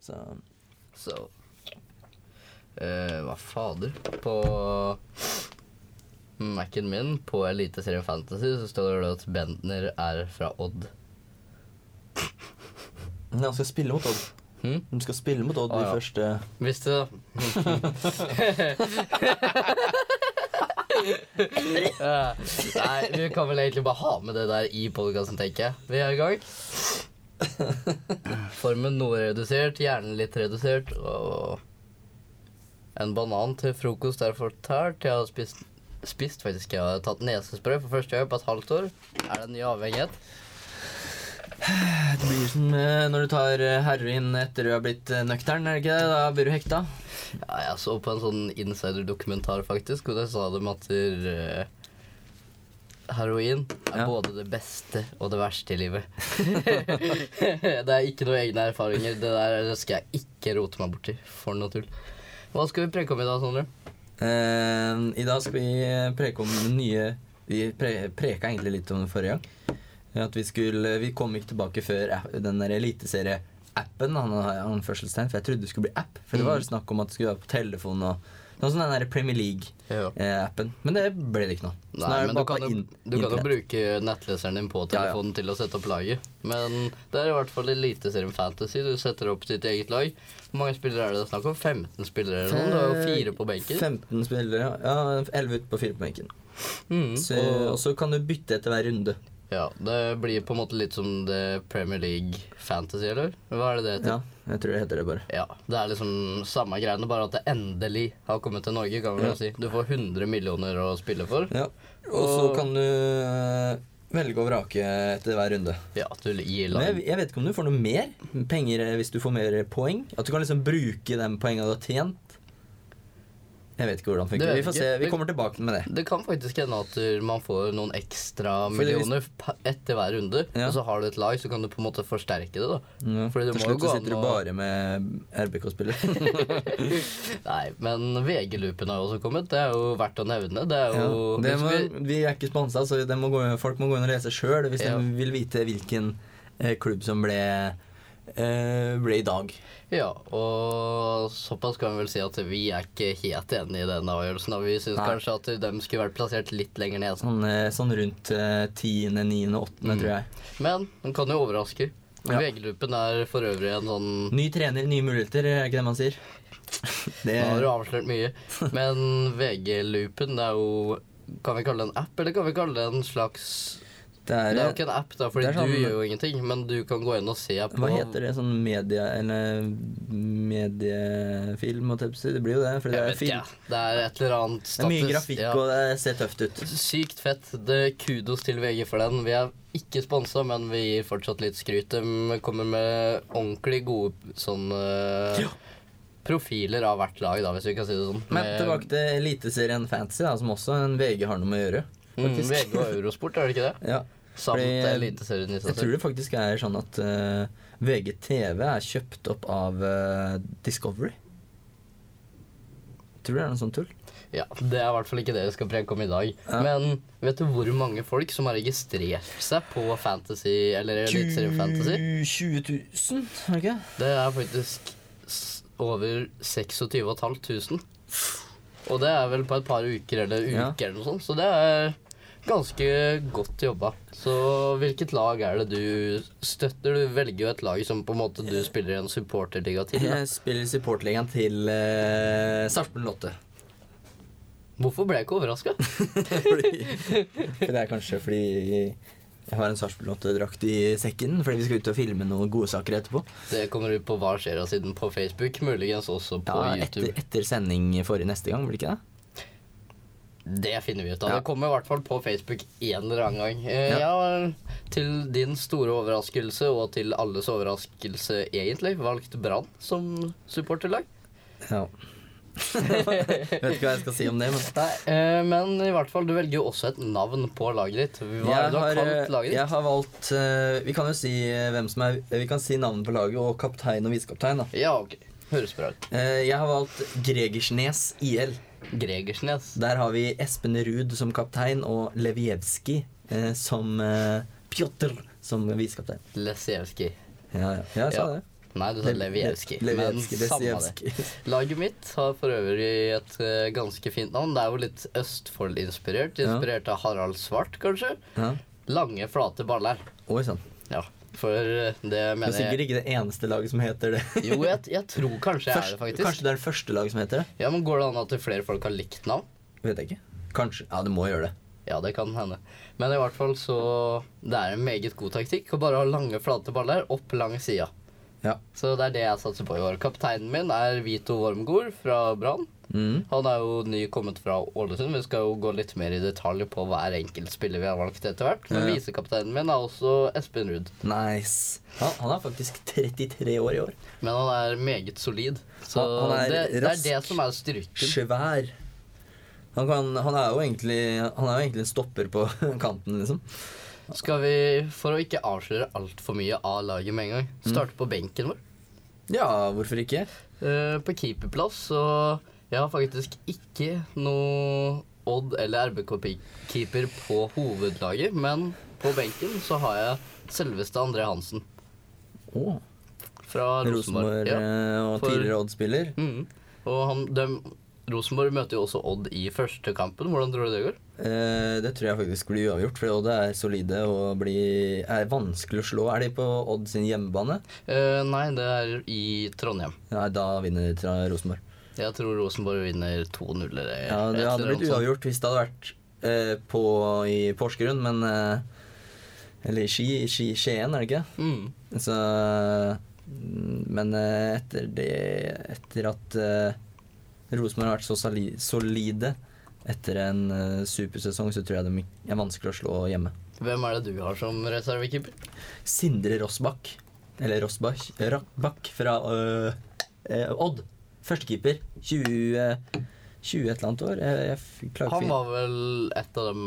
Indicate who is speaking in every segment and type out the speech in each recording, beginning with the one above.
Speaker 1: Så
Speaker 2: Så eh, Hva fader? På Mac-en min på Eliteserien Fantasy så står det at Bentner er fra Odd.
Speaker 1: Nei, han skal spille mot Odd.
Speaker 2: Hm?
Speaker 1: De skal spille mot Odd
Speaker 2: Å, ja.
Speaker 1: i første
Speaker 2: Visste du det? Ja. Nei, vi kan vel egentlig bare ha med det der i podkasten, tenker jeg. Vi er i gang. Formen noe redusert, hjernen litt redusert og en banan til frokost er fortært. Jeg har spist, spist faktisk, jeg har tatt nesespray for første gang på et halvt år. Er det en ny avhengighet?
Speaker 1: Det blir som eh, når du tar eh, heroin etter du har blitt eh, nøktern, er det ikke det? Da blir du hekta.
Speaker 2: Ja, jeg så på en sånn insider-dokumentar faktisk, hvor det sa dem at eh, heroin er
Speaker 1: Ja.
Speaker 2: både det beste og det verste i livet. det er ikke noen egne erfaringer. Det der skal jeg ikke rote meg borti. For noe tull. Hva skal vi preke om i dag, Sondre?
Speaker 1: Eh, I dag skal vi eh, preke om den nye Vi pre preka egentlig litt om det forrige gang. At vi skulle Vi kom ikke tilbake før app- den der eliteserieappen, han har anførselstegn, for jeg trodde det skulle bli app. For det
Speaker 2: Mm.
Speaker 1: var snakk om at det skulle være på telefonen og Sånn som den der Premier
Speaker 2: Ja.
Speaker 1: League-appen. Men det ble det ikke noe. Så nå
Speaker 2: Nei,
Speaker 1: er det
Speaker 2: men du
Speaker 1: bare
Speaker 2: kan,
Speaker 1: på
Speaker 2: jo,
Speaker 1: in-
Speaker 2: du kan jo
Speaker 1: internett.
Speaker 2: bruke nettleseren din på
Speaker 1: Ja, ja.
Speaker 2: telefonen til å sette opp laget. Men det er i hvert fall Eliteserien Fantasy. Du setter opp ditt eget lag. Hvor mange spillere er det det er snakk om? 15 spillere eller noe? Du har jo fire på benken.
Speaker 1: 15 spillere. Ja, 11 ute på 4 på benken.
Speaker 2: Mm,
Speaker 1: Så, og så kan du bytte etter hver runde.
Speaker 2: Ja, det blir på en måte litt som det Premier League Fantasy, eller? Hva er det det heter?
Speaker 1: Ja, jeg tror det heter det bare.
Speaker 2: Ja. Det er liksom samme greiene, bare at det endelig har kommet til Norge, kan vi
Speaker 1: Ja.
Speaker 2: vel si. Du får 100 millioner å spille for.
Speaker 1: Ja. Og så kan du eh, velge og vrake etter hver runde.
Speaker 2: Ja, du gir
Speaker 1: Men
Speaker 2: lag.
Speaker 1: jeg, jeg vet ikke om du får noe mer penger eh, hvis du får mer poeng. At du kan liksom bruke de poengene du har tjent. Jeg vet ikke hvordan det
Speaker 2: Det
Speaker 1: funker.
Speaker 2: vet
Speaker 1: Vi får
Speaker 2: jeg
Speaker 1: se.
Speaker 2: ikke.
Speaker 1: Vi kommer tilbake med det.
Speaker 2: Det kan faktisk hende at eh, man får noen ekstra
Speaker 1: Fordi hvis-
Speaker 2: millioner pa- etter hver runde.
Speaker 1: Ja.
Speaker 2: Og så har du et lag, så kan du på en måte forsterke det, da. Fordi det
Speaker 1: Til
Speaker 2: må jo
Speaker 1: slutt
Speaker 2: gå
Speaker 1: så
Speaker 2: an
Speaker 1: sitter du
Speaker 2: å-
Speaker 1: bare med RBK-spiller.
Speaker 2: Nei, men VG-loopen har jo også kommet. Det er jo verdt å nevne. Det er
Speaker 1: Ja.
Speaker 2: jo
Speaker 1: Det
Speaker 2: Hvis
Speaker 1: må,
Speaker 2: vi-
Speaker 1: vi er ikke sponsa, så det må gå, folk må gå inn og lese sjøl hvis
Speaker 2: Ja.
Speaker 1: de vil vite hvilken eh, klubb som ble, eh, ble i dag.
Speaker 2: Ja, og såpass kan vi vel si at vi er ikke helt enige i den avgjørelsen. Og vi syns
Speaker 1: Nei.
Speaker 2: kanskje at de skulle vært plassert litt lenger ned.
Speaker 1: Sånn, eh, sånn rundt eh, 10., 9., 8.,
Speaker 2: Mm.
Speaker 1: tror jeg.
Speaker 2: Men den kan jo overraske.
Speaker 1: Ja.
Speaker 2: VG-loopen er for øvrig en sånn
Speaker 1: Ny trener, nye muligheter, er ikke det man sier? Det,
Speaker 2: Nå har du avslørt mye. Men VG-loopen er jo Kan vi kalle det en app, eller kan vi kalle det en slags
Speaker 1: det
Speaker 2: Det
Speaker 1: er,
Speaker 2: er jo ikke en app, da, fordi
Speaker 1: det er sånn-
Speaker 2: du gjør jo ingenting. Men du kan gå inn og se på
Speaker 1: Hva heter det? Sånn media... Eller mediefilm, måtte jeg på å si. Det blir jo det. For det
Speaker 2: Jeg
Speaker 1: er,
Speaker 2: vet ikke.
Speaker 1: film.
Speaker 2: jeg. Det er et eller annet
Speaker 1: det er mye
Speaker 2: status-
Speaker 1: grafikk,
Speaker 2: ja.
Speaker 1: og det ser tøft ut.
Speaker 2: Sykt fett. Det Kudos til VG for den. Vi er ikke sponsa, men vi gir fortsatt litt skryt. De kommer med ordentlig gode sånne
Speaker 1: Ja.
Speaker 2: profiler av hvert lag, da, hvis vi kan si det sånn.
Speaker 1: Men tilbake til Eliteserien Fantasy, da, som også en VG har noe med å gjøre.
Speaker 2: mm, VG og Eurosport, er det ikke det?
Speaker 1: Ja,
Speaker 2: Samt
Speaker 1: Fordi, eh,
Speaker 2: Eliteserien i
Speaker 1: Jeg
Speaker 2: seg
Speaker 1: tror
Speaker 2: selv.
Speaker 1: det faktisk er sånn at eh, VGTV er kjøpt opp av eh, Discovery. Tror du det er noe sånt tull?
Speaker 2: Ja, det er i hvert fall ikke det vi skal preke om i dag.
Speaker 1: Ja.
Speaker 2: Men vet du hvor mange folk som har registrert seg på Fantasy eller Eliteserien Fantasy?
Speaker 1: 20 000, er det ikke?
Speaker 2: Det er faktisk s- over 26.500. Og det er vel på et par uker eller uker
Speaker 1: Ja.
Speaker 2: eller noe sånt, så det er ganske godt jobba. Så hvilket lag er det du støtter? Du velger jo et lag som på en måte du spiller i en supporterliga til. Da.
Speaker 1: Jeg spiller supportligaen til uh, Sarpsborg Lotte.
Speaker 2: Hvorfor ble jeg ikke overraska?
Speaker 1: fordi, for det er kanskje fordi jeg har en Sarpsborg Lotte-drakt i sekken fordi vi skal ut og filme noen godsaker etterpå.
Speaker 2: Det kommer ut på Hva skjer av siden på Facebook, muligens også på
Speaker 1: Ja,
Speaker 2: YouTube.
Speaker 1: etter, etter sending forrige neste gang, blir det ikke det?
Speaker 2: Det finner vi ut av.
Speaker 1: Ja.
Speaker 2: Det kommer i hvert fall på Facebook en eller annen gang. Eh,
Speaker 1: Ja.
Speaker 2: ja. til din store overraskelse, og til alles overraskelse egentlig, valgte Brann som supporterlag.
Speaker 1: Ja. Vet ikke hva jeg skal si om det, men
Speaker 2: Nei, eh, men i hvert fall, du velger jo også et navn på laget ditt. Hva er det
Speaker 1: Jeg
Speaker 2: du har
Speaker 1: eh,
Speaker 2: kalt laget
Speaker 1: jeg
Speaker 2: ditt?
Speaker 1: har valgt eh, Vi kan jo si eh, hvem som er Vi kan si navnet på laget og kaptein og visekaptein. da.
Speaker 2: Ja, ok. Høres bra ut.
Speaker 1: Eh, jeg har valgt Gregersnes IL.
Speaker 2: Gregersnes.
Speaker 1: Der har vi Espen Ruud som kaptein og Levijevskij eh, som uh, Pjotr som visekaptein.
Speaker 2: Lesevskij.
Speaker 1: Ja, ja. Jeg sa
Speaker 2: Ja.
Speaker 1: det.
Speaker 2: Nei, du sa Levijevskij. Men samme det. Laget mitt har for øvrig et eh, ganske fint navn. Det er jo litt Østfold-inspirert.
Speaker 1: Ja.
Speaker 2: Inspirert av Harald Svart, kanskje.
Speaker 1: Ja.
Speaker 2: Lange, flate baller.
Speaker 1: Oi sann.
Speaker 2: Ja, for eh, det
Speaker 1: Det er
Speaker 2: mener
Speaker 1: sikkert
Speaker 2: jeg
Speaker 1: ikke det eneste laget som heter det.
Speaker 2: Jo, jeg, jeg tror kanskje jeg er det,
Speaker 1: Først-
Speaker 2: faktisk.
Speaker 1: Kanskje det er det første laget som heter det?
Speaker 2: Ja, men Går det an at flere folk har likt navn?
Speaker 1: Vet jeg ikke. Kanskje. Ja, det må gjøre det.
Speaker 2: Ja, det kan hende. Men i hvert fall så Det er en meget god taktikk å bare ha lange, flate baller opp langs sida.
Speaker 1: Ja.
Speaker 2: Så det er det jeg satser på i år. Kapteinen min er Vito Wormgård fra Brann.
Speaker 1: Mm.
Speaker 2: Han er jo ny kommet fra Ålesund. Vi skal jo gå litt mer i detalj på hver enkelt spiller vi har valgt etter hvert. Men
Speaker 1: Ja, ja.
Speaker 2: visekapteinen min er også Espen Ruud.
Speaker 1: Nice. Han, han er faktisk 33 år i år.
Speaker 2: Men han er meget solid. Så
Speaker 1: Han- han er
Speaker 2: det, det er
Speaker 1: rask.
Speaker 2: det som er styrken.
Speaker 1: Svær. Han, kan, han, er jo egentlig, han er jo egentlig en stopper på kanten, liksom.
Speaker 2: Skal vi, for å ikke avsløre altfor mye av laget med en gang,
Speaker 1: Mm.
Speaker 2: starte på benken vår.
Speaker 1: Ja, hvorfor ikke?
Speaker 2: Eh, på keeperplass så Jeg har faktisk ikke noe Odd- eller RBK-keeper på hovedlaget, men på benken så har jeg selveste André Hansen
Speaker 1: Å,
Speaker 2: fra
Speaker 1: Rosenborg
Speaker 2: Rosenborg. Ja.
Speaker 1: eh, og
Speaker 2: for-
Speaker 1: tidligere Odd-spiller.
Speaker 2: Mhm. Og han, dem, Rosenborg møter jo også Odd i første kampen. Hvordan tror du det går?
Speaker 1: Eh, det tror jeg faktisk blir uavgjort, for Odd er solide og blir, er vanskelig å slå. Er de på Odd sin hjemmebane?
Speaker 2: Eh, nei, det er i Trondheim.
Speaker 1: Nei, da vinner de fra Rosenborg.
Speaker 2: Jeg tror Rosenborg vinner 2-0 eller
Speaker 1: Ja,
Speaker 2: et
Speaker 1: Det hadde
Speaker 2: eller annet
Speaker 1: blitt
Speaker 2: sånt.
Speaker 1: uavgjort hvis det hadde vært eh, på, i Porsgrunn, men eh, Eller i Ski, i Ski, Skien, er det ikke?
Speaker 2: Mhm.
Speaker 1: Så Men eh, etter det Etter at eh, Rosenborg har vært så sali- solide etter en eh, supersesong, så tror jeg de er vanskelig å slå hjemme.
Speaker 2: Hvem er det du har som reservekeeper?
Speaker 1: Sindre Rossbakk, eller Rossbakk Rakkbakk fra øh, eh, Odd. Førstekeeper. 20, eh, 20 et eller annet år. Jeg, jeg f- klarer
Speaker 2: Han
Speaker 1: ikke å
Speaker 2: var vel et av de,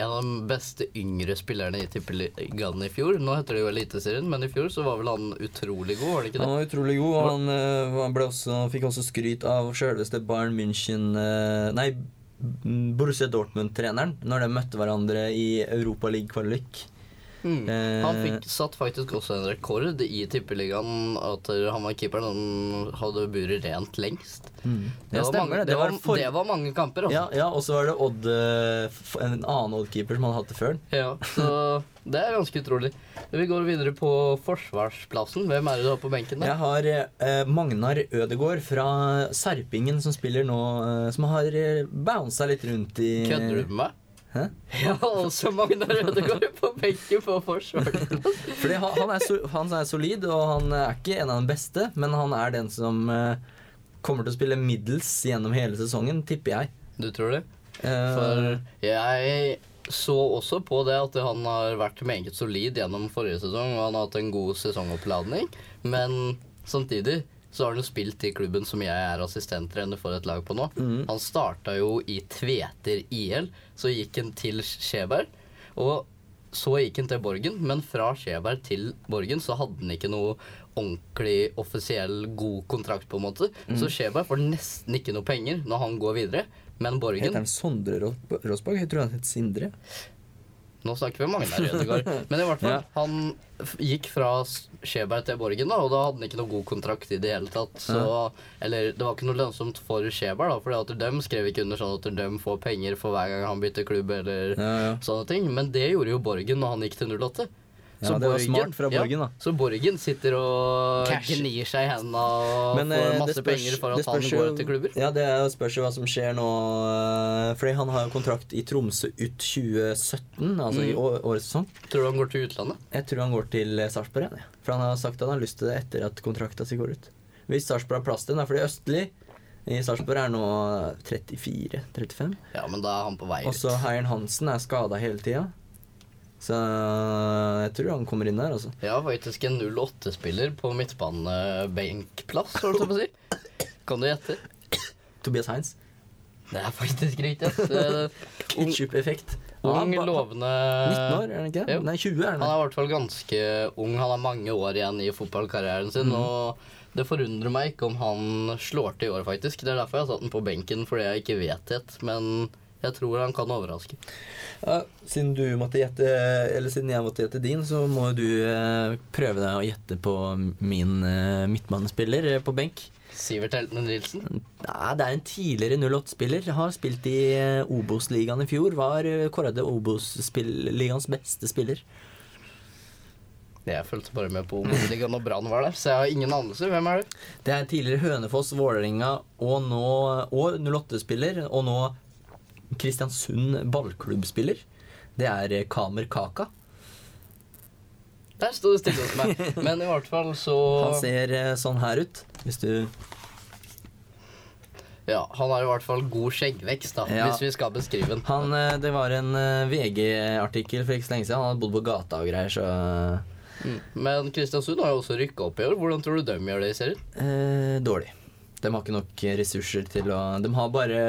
Speaker 2: en av de beste yngre spillerne i Tippeligaen i fjor. Nå heter det jo Eliteserien, men i fjor så var vel han utrolig god, var det ikke
Speaker 1: Han
Speaker 2: det?
Speaker 1: var utrolig god, og han, eh, han ble også, han fikk også skryt av sjølveste Bayern München eh, Nei, Borussia Dortmund-treneren når de møtte hverandre i Europa League-kvalik.
Speaker 2: Mm.
Speaker 1: Eh,
Speaker 2: Han fikk, satt faktisk også en rekord i Tippeligaen. At han var keeperen. Han hadde buret rent lengst.
Speaker 1: Ja,
Speaker 2: var
Speaker 1: stemmer
Speaker 2: mange,
Speaker 1: det. Det var for-
Speaker 2: Mm. det var mange kamper, altså.
Speaker 1: Ja, ja, og så var det Odd, eh, f- en annen Odd-keeper som hadde hatt det før.
Speaker 2: Ja, så det er ganske utrolig. Vi går videre på forsvarsplassen. Hvem er det du har på benken der?
Speaker 1: Jeg har eh, Magnar Ødegård fra Serpingen som spiller nå eh, Som har eh, bounsa litt rundt i
Speaker 2: Kødder du med meg?
Speaker 1: Hæ?
Speaker 2: Jeg har også Magnar Ødegaard på benken på forsvarsplass.
Speaker 1: Fordi han, han, er so, han er solid, og han er ikke en av de beste, men han er den som eh, kommer til å spille middels gjennom hele sesongen, tipper jeg.
Speaker 2: Du tror det?
Speaker 1: Eh,
Speaker 2: For jeg så også på det at han har vært meget solid gjennom forrige sesong, og han har hatt en god sesongoppladning, men samtidig så har han jo spilt i klubben som jeg er assistenttrener for et lag på nå. Han starta jo i Tveter IL, så gikk han til Skjeberg, og så gikk han til Borgen, men fra Skjeberg til Borgen så hadde han ikke noe ordentlig offisiell god kontrakt, på en måte. Så Skjeberg får nesten ikke noe penger når han går videre, men Borgen
Speaker 1: Heter han Sondre Ros- Rosbach? Jeg tror han het Sindre.
Speaker 2: Nå snakker vi om Magnar Ødegaard. Men i hvert fall,
Speaker 1: Ja.
Speaker 2: han f- gikk fra S- Skjeberg til Borgen, da, og da hadde han ikke noe god kontrakt i det hele tatt. Så, Eller det var ikke noe lønnsomt for Skjeberg, da, for dem skrev ikke under sånn at de får penger for hver gang han bytter klubb eller
Speaker 1: Ja, ja.
Speaker 2: sånne ting. Men det gjorde jo Borgen når han gikk til 08.
Speaker 1: Ja, det var smart fra Borgen, da.
Speaker 2: Så Borgen sitter og
Speaker 1: Cash.
Speaker 2: gnir seg i hendene og
Speaker 1: Men, eh,
Speaker 2: får
Speaker 1: det
Speaker 2: masse
Speaker 1: spørs-
Speaker 2: penger for
Speaker 1: det
Speaker 2: at han
Speaker 1: spørs
Speaker 2: går
Speaker 1: jo-
Speaker 2: til klubber.
Speaker 1: Ja, det er jo spørs jo hva som skjer nå. eh, Fordi han har jo kontrakt i Tromsø ut 2017, altså i
Speaker 2: Mm.
Speaker 1: å- årets sesong.
Speaker 2: Tror du han går til utlandet?
Speaker 1: Jeg tror han går til eh, Sarpsborg. igjen, Ja. For han har sagt at han har lyst til det etter at kontrakta si går ut. Hvis Sarpsborg har plass til den, da, fordi Østli i Sarpsborg er nå 34-35.
Speaker 2: Ja, men da er han på vei
Speaker 1: Og
Speaker 2: ut.
Speaker 1: så Heiren Hansen er skada hele tida. Så eh, jeg tror han kommer inn der, altså.
Speaker 2: Jeg har faktisk en 08-spiller på midtbanebenkplass, holdt jeg på å si. Kan du gjette?
Speaker 1: Tobias Heins.
Speaker 2: Det er faktisk riktig. ass. Eh, Ung,
Speaker 1: Ketchup-effekt.
Speaker 2: ung,
Speaker 1: Ja, ba-
Speaker 2: lovende
Speaker 1: 19 år, er han ikke?
Speaker 2: Jo.
Speaker 1: Nei, 20 er han.
Speaker 2: Han er i hvert fall ganske ung. Han har mange år igjen i fotballkarrieren
Speaker 1: Mhm.
Speaker 2: sin. Og det forundrer meg ikke om han slår til i år, faktisk. Det er derfor jeg har satt han på benken, fordi jeg ikke vet det. Men Jeg tror han kan overraske.
Speaker 1: Ja, siden du måtte gjette, eller siden jeg måtte gjette din, så må du eh, prøve deg å gjette på min eh, midtbanespiller eh, på benk.
Speaker 2: Sivert Heltene Nilsen.
Speaker 1: Nei, det er en tidligere 08-spiller. Har spilt i eh, Obos-ligaen i fjor. Var eh, kåret til Obos-ligaens beste spiller.
Speaker 2: Jeg fulgte bare med på Obos-ligaen og Brann var der, så jeg har ingen anelse. Hvem er det?
Speaker 1: Det er tidligere Hønefoss, Vålerenga og, nå- og 08-spiller, og nå Kristiansund ballklubbspiller. Det er eh, Kamer Kaka.
Speaker 2: Der sto det stille hos meg. Men i hvert fall så
Speaker 1: Han ser eh, sånn her ut. Hvis du
Speaker 2: Ja, han har i hvert fall god skjeggvekst, da,
Speaker 1: Ja.
Speaker 2: hvis vi skal beskrive den.
Speaker 1: Han, eh, det var en eh, VG-artikkel for ikke så lenge siden. Han hadde bodd på gata og greier, så eh,
Speaker 2: Mm. Men Kristiansund har jo også rykka opp i år. Hvordan tror du de gjør det i serien?
Speaker 1: eh, dårlig. De har ikke nok ressurser til å De har bare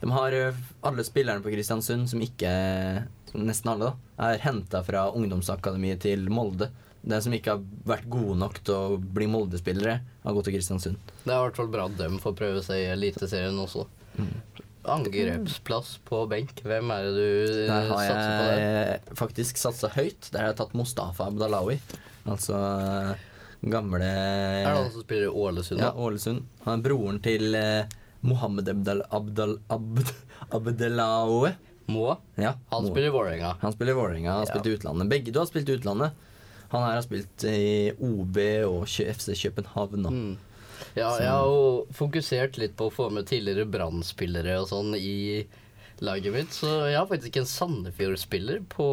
Speaker 1: De har eh, alle spillerne på Kristiansund som ikke som Nesten alle, da. Er henta fra ungdomsakademiet til Molde. De som ikke har vært gode nok til å bli Molde-spillere, har gått til Kristiansund.
Speaker 2: Det er i hvert fall bra at de får prøve seg i Eliteserien også.
Speaker 1: Mm.
Speaker 2: Angrepsplass på benk, hvem er det du eh,
Speaker 1: Der har
Speaker 2: satser på
Speaker 1: jeg
Speaker 2: der?
Speaker 1: eh, faktisk satsa høyt. Der har jeg tatt Mustafa Abdalawi. Altså eh, gamle
Speaker 2: Er det han som spiller i Ålesund?
Speaker 1: Ja,
Speaker 2: da?
Speaker 1: Ålesund. Han er broren til eh, Mohammed Abdal, Abdal, Abd, Abdelaoue.
Speaker 2: Moa?
Speaker 1: Ja,
Speaker 2: Han
Speaker 1: Mo-
Speaker 2: spiller i Vålerenga.
Speaker 1: han spiller i Vålerenga. Han har
Speaker 2: Ja.
Speaker 1: spilt i utlandet. Begge du har spilt i utlandet. Han her har spilt i OB og Kjø- FC København. Mm.
Speaker 2: Mm. Ja, jeg har jo fokusert litt på å få med tidligere Brann-spillere og sånn i laget mitt, så jeg har faktisk en Sandefjord-spiller på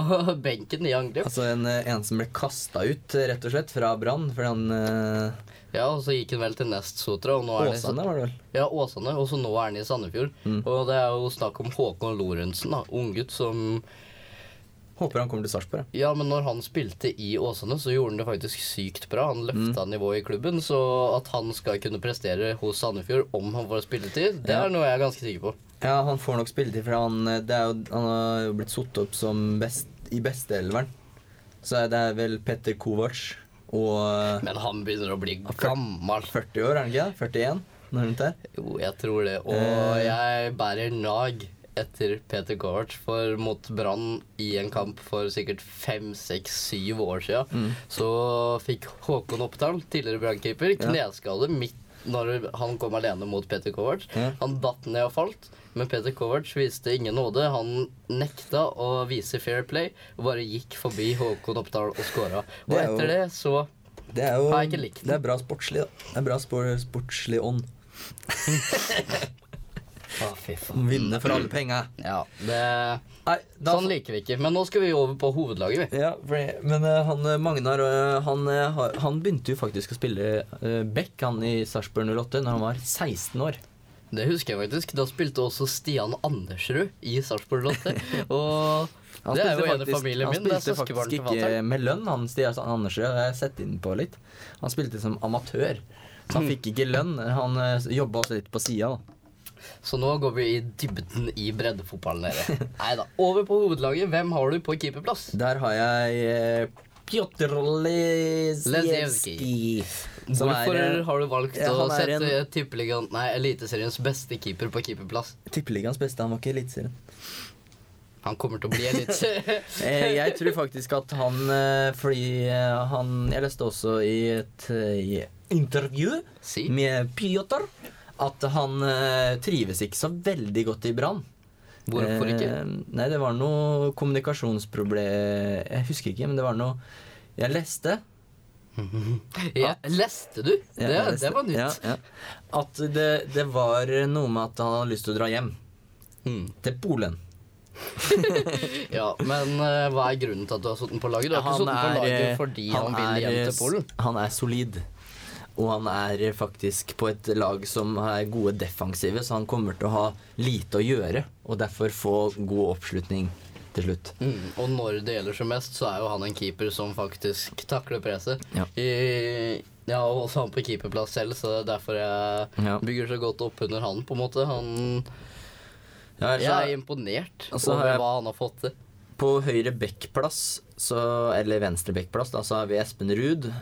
Speaker 2: benken i angrep.
Speaker 1: Altså en, eh, en som ble kasta ut, eh, rett og slett, fra Brann fordi han eh,
Speaker 2: Ja, og så gikk han vel til Nest Sotra, og nå er han i Sa-
Speaker 1: Åsane, Mm. var det vel?
Speaker 2: Ja, Åsane, og så nå er han i Sandefjord. Og det er jo snakk om Håkon Lorentzen, da, unggutt som
Speaker 1: Håper han kommer til Sarpsborg. ja.
Speaker 2: Ja, men når han spilte i Åsane, så gjorde han det faktisk sykt bra. Han løfta
Speaker 1: Mm.
Speaker 2: nivået i klubben, så at han skal kunne prestere hos Sandefjord om han får spilletid, det
Speaker 1: Ja.
Speaker 2: er noe jeg er ganske sikker på.
Speaker 1: Ja, han får nok spilletid, for han, eh, det er jo, han har jo blitt satt opp som best, i besteelveren. Så det er vel Petter Kovac og eh,
Speaker 2: Men han begynner å bli
Speaker 1: fyrt-
Speaker 2: gammel.
Speaker 1: 40 år, er han ikke det? 41? Noe rundt der.
Speaker 2: Jo, jeg tror det. Og
Speaker 1: Eh.
Speaker 2: jeg bærer nag etter Peter Kovac for mot Brann i en kamp for sikkert fem, seks, syv år
Speaker 1: Mm.
Speaker 2: siden. Så fikk Håkon Oppdal, tidligere Brann-keeper, kneskade midt når han kom alene mot Peter Kovac.
Speaker 1: Ja.
Speaker 2: Han datt ned og falt, men Peter Kovac viste ingen nåde. Han nekta å vise fair play og bare gikk forbi Håkon Oppdal og skåra. Og
Speaker 1: Det er jo-
Speaker 2: etter det så
Speaker 1: Det er jo
Speaker 2: Har jeg ikke likt den.
Speaker 1: Det er bra sportslig, da. Det er bra spor, sportslig ånd.
Speaker 2: Å, fy faen.
Speaker 1: Vinne for
Speaker 2: Mm.
Speaker 1: alle penga.
Speaker 2: Ja, det
Speaker 1: Nei, da
Speaker 2: Sånn liker vi ikke. Men nå skal vi over på hovedlaget, vi.
Speaker 1: ja, fordi- Men eh, han eh, Magnar eh, han, eh, har- han begynte jo faktisk å spille eh, back han i Sarpsborg 08 når han var 16 år.
Speaker 2: Det husker jeg faktisk. Da spilte også Stian Andersrud i Sarpsborg Lotte. Og
Speaker 1: Han
Speaker 2: det er
Speaker 1: spilte
Speaker 2: jo en i
Speaker 1: faktisk-
Speaker 2: familien min. Det
Speaker 1: Han
Speaker 2: er
Speaker 1: spilte
Speaker 2: søskenbarn
Speaker 1: faktisk
Speaker 2: til fatter'n.
Speaker 1: ikke med lønn, han Stian Andersrud. Jeg har sett inn på litt. Han spilte som amatør. Så han fikk ikke lønn. Han eh, jobba også litt på sida, da.
Speaker 2: Så nå går vi i dybden i breddefotballen, dere. Nei da. Over på hovedlaget. Hvem har du på keeperplass?
Speaker 1: Der har jeg eh, Pjotr Lesjevskij. Som
Speaker 2: Hvorfor
Speaker 1: er eh,
Speaker 2: har du valgt
Speaker 1: ja,
Speaker 2: å
Speaker 1: han er
Speaker 2: sette tippeligaen Nei, Eliteseriens beste keeper på keeperplass?
Speaker 1: tippeligaens beste. Han var ikke i Eliteserien.
Speaker 2: Han kommer til å bli elite.
Speaker 1: Eh, jeg tror faktisk at han eh, Fordi eh, han Jeg leste også i et eh, i intervju
Speaker 2: si.
Speaker 1: med Pjotr at han eh, trives ikke så veldig godt i Brann.
Speaker 2: Hvorfor ikke?
Speaker 1: Eh, Nei, det var noe kommunikasjonsproblem Jeg husker ikke, men det var noe Jeg leste
Speaker 2: Ja, leste du?
Speaker 1: Ja,
Speaker 2: Det,
Speaker 1: jeg leste.
Speaker 2: det var nytt.
Speaker 1: Ja, ja. At det, det var noe med at han hadde lyst til å dra hjem.
Speaker 2: Mm.
Speaker 1: Til Polen.
Speaker 2: Ja, men eh, hva er grunnen til at du har satt den på laget? Du har ikke satt den på
Speaker 1: eh,
Speaker 2: laget fordi han, vil
Speaker 1: er,
Speaker 2: hjem
Speaker 1: eh,
Speaker 2: til Polen?
Speaker 1: Han er solid. Og han er eh, faktisk på et lag som er gode defensive, så han kommer til å ha lite å gjøre. Og derfor få god oppslutning til slutt.
Speaker 2: Mm, og når det gjelder som mest, så er jo han en keeper som faktisk takler presset.
Speaker 1: Ja.
Speaker 2: I, jeg har jo også han på keeperplass selv, så det er derfor jeg
Speaker 1: Ja.
Speaker 2: bygger så godt opp under han, på en måte. Han,
Speaker 1: Ja,
Speaker 2: jeg er
Speaker 1: så,
Speaker 2: imponert
Speaker 1: Og så har
Speaker 2: over
Speaker 1: jeg-
Speaker 2: hva han har fått til.
Speaker 1: på høyre backplass, så, eller venstre backplass, da, så har vi Espen Ruud.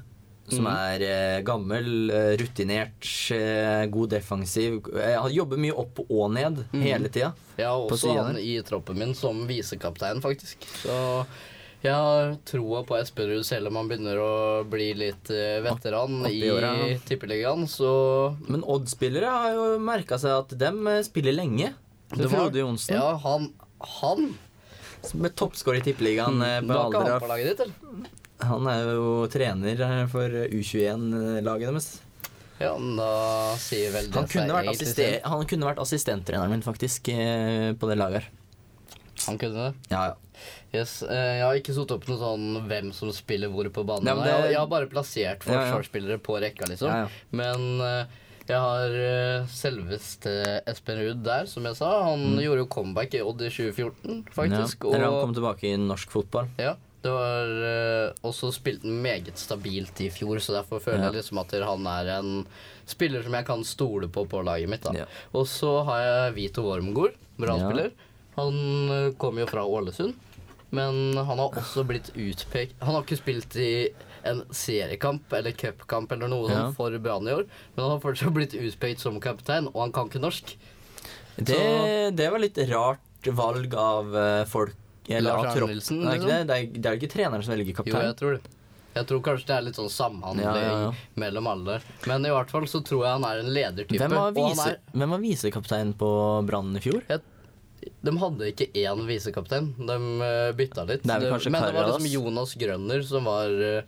Speaker 1: Som
Speaker 2: Mm.
Speaker 1: er eh, gammel, eh, rutinert, eh, god defensiv. Eh, han jobber mye opp og ned
Speaker 2: Mm.
Speaker 1: hele tida.
Speaker 2: Jeg har
Speaker 1: På
Speaker 2: også
Speaker 1: siden
Speaker 2: han
Speaker 1: der.
Speaker 2: i troppen min som visekaptein, faktisk. Så jeg har troa på Esperud, selv om han begynner å bli litt eh, veteran
Speaker 1: Opp- opp i åra, ja.
Speaker 2: i tippeligaen, så
Speaker 1: Men Odd-spillere har jo merka seg at dem eh, spiller lenge.
Speaker 2: Det
Speaker 1: Det
Speaker 2: var-
Speaker 1: Frode Johnsen,
Speaker 2: Ja, han Han?
Speaker 1: som er toppskårer i Tippeligaen. eh,
Speaker 2: Mm. Du
Speaker 1: på
Speaker 2: har ikke
Speaker 1: alder
Speaker 2: han
Speaker 1: av-
Speaker 2: på laget ditt, eller?
Speaker 1: Han er jo trener eh, for U21-laget deres.
Speaker 2: Ja, men da sier vel det
Speaker 1: Han kunne, vært
Speaker 2: egentlig
Speaker 1: assiste- han kunne vært assistenttreneren min, faktisk, eh, på det laget her.
Speaker 2: selv. Han kunne det.
Speaker 1: Ja, ja.
Speaker 2: Yes. eh, Jeg har ikke satt opp noe sånn hvem som spiller hvor på banen.
Speaker 1: Nei, men det-
Speaker 2: Jeg- Jeg har bare plassert
Speaker 1: Ja, ja.
Speaker 2: forsvarsspillere på rekka, liksom.
Speaker 1: Ja, ja.
Speaker 2: Men eh, jeg har eh, selveste Espen Ruud der, som jeg sa. Han gjorde jo comeback i Odd i 2014, faktisk.
Speaker 1: Mm. Ja. Eller han
Speaker 2: og-
Speaker 1: kom tilbake i norsk fotball.
Speaker 2: Ja, det var eh, også spilt meget stabilt i fjor, så derfor føler
Speaker 1: Ja.
Speaker 2: jeg liksom at han er en spiller som jeg kan stole på på laget mitt. da.
Speaker 1: Ja.
Speaker 2: Og så har jeg Vito Wormgård, Brann-spiller. Han eh, kommer jo fra Ålesund, men han har også blitt utpekt Han har ikke spilt i en seriekamp eller cupkamp eller noe
Speaker 1: Ja.
Speaker 2: sånt for Brann i år, men han har fortsatt blitt utpekt som kaptein, og han kan ikke norsk.
Speaker 1: Det, det var litt rart valg av eh, folk eller
Speaker 2: Lars
Speaker 1: av
Speaker 2: Arne
Speaker 1: tropp.
Speaker 2: Nilsen,
Speaker 1: Er
Speaker 2: liksom.
Speaker 1: det ikke det? Det er, det er jo ikke treneren som velger
Speaker 2: Jo,
Speaker 1: kaptein.
Speaker 2: jeg tror det. Jeg tror kanskje det er litt sånn samhandling
Speaker 1: Ja, ja, ja.
Speaker 2: mellom alle. Men i hvert fall så tror jeg han er en ledertype.
Speaker 1: Hvem var,
Speaker 2: og han
Speaker 1: vise, hvem var visekaptein på Brann i fjor?
Speaker 2: er, de hadde ikke én visekaptein. De eh, bytta litt.
Speaker 1: Det er vel kanskje
Speaker 2: men det var
Speaker 1: Karadas?
Speaker 2: liksom Jonas Grønner som var eh,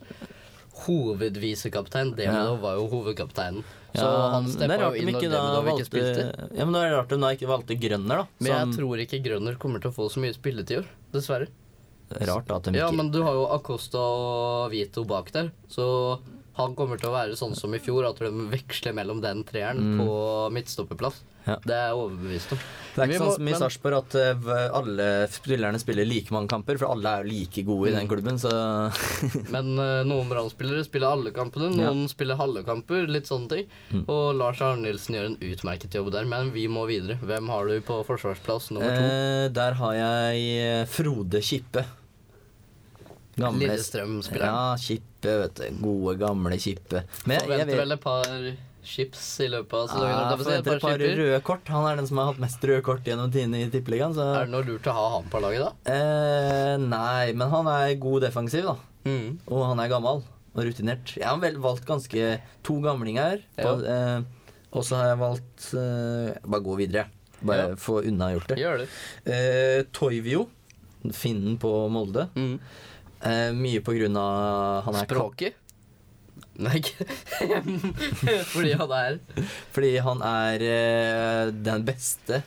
Speaker 2: hovedvisekaptein. Demidov var jo hovedkapteinen. Så
Speaker 1: Ja,
Speaker 2: han
Speaker 1: det er
Speaker 2: steppa
Speaker 1: rart
Speaker 2: jo
Speaker 1: de
Speaker 2: inn når
Speaker 1: ikke da
Speaker 2: Demidov ikke
Speaker 1: valgte
Speaker 2: spilte.
Speaker 1: Ja, men det er rart de da ikke valgte Grønner, da. Sånn
Speaker 2: Men jeg
Speaker 1: som-
Speaker 2: tror ikke Grønner kommer til å få så mye spilletid i år. Dessverre.
Speaker 1: Rart at de ikke
Speaker 2: Ja, men du har jo Acosta og Vito bak der, så han kommer til å være sånn som i fjor, at de veksler mellom den treeren på midtstopperplass.
Speaker 1: Mm. Ja.
Speaker 2: Det er jeg overbevist om.
Speaker 1: Det er ikke
Speaker 2: Vi må-
Speaker 1: sånn som i
Speaker 2: men-
Speaker 1: Sarpsborg at eh, v- alle spillerne spiller like mange kamper, for alle er jo like gode i
Speaker 2: Mm.
Speaker 1: den klubben, så
Speaker 2: Men eh, noen Brann-spillere spiller alle kampene, noen spiller halve kamper, litt sånne ting.
Speaker 1: Mm.
Speaker 2: Og Lars Arne Nilsen gjør en utmerket jobb der, men vi må videre. Hvem har du på forsvarsplass nummer to?
Speaker 1: eh, Der har jeg eh, Frode Kippe.
Speaker 2: Lillestrøm-spilleren.
Speaker 1: Ja, Kippe, vet du. Gode, gamle Kippe. Men jeg, jeg
Speaker 2: Forventer
Speaker 1: vet
Speaker 2: vel et par chips i løpet av
Speaker 1: Ja,
Speaker 2: sesongen. holdt jeg
Speaker 1: jeg
Speaker 2: på å si, et
Speaker 1: forventer et par
Speaker 2: skipper.
Speaker 1: røde kort. Han er den som har hatt mest røde kort gjennom tidene i Tippeligaen, så
Speaker 2: Er det noe lurt å ha han på laget, da?
Speaker 1: eh, Nei, men han er god defensiv, da.
Speaker 2: Mm.
Speaker 1: Og han er gammel og rutinert. Jeg har vel valgt ganske to gamlinger.
Speaker 2: Ja.
Speaker 1: på- eh, og så har jeg valgt eh, Bare gå videre. Bare
Speaker 2: Ja.
Speaker 1: få unnagjort det.
Speaker 2: Gjør det.
Speaker 1: Eh, Toivio, finnen på Molde.
Speaker 2: Mm.
Speaker 1: Eh, mye på grunn av han er
Speaker 2: Språket? Nei, ikke Fordi han er
Speaker 1: Fordi han er eh, den beste,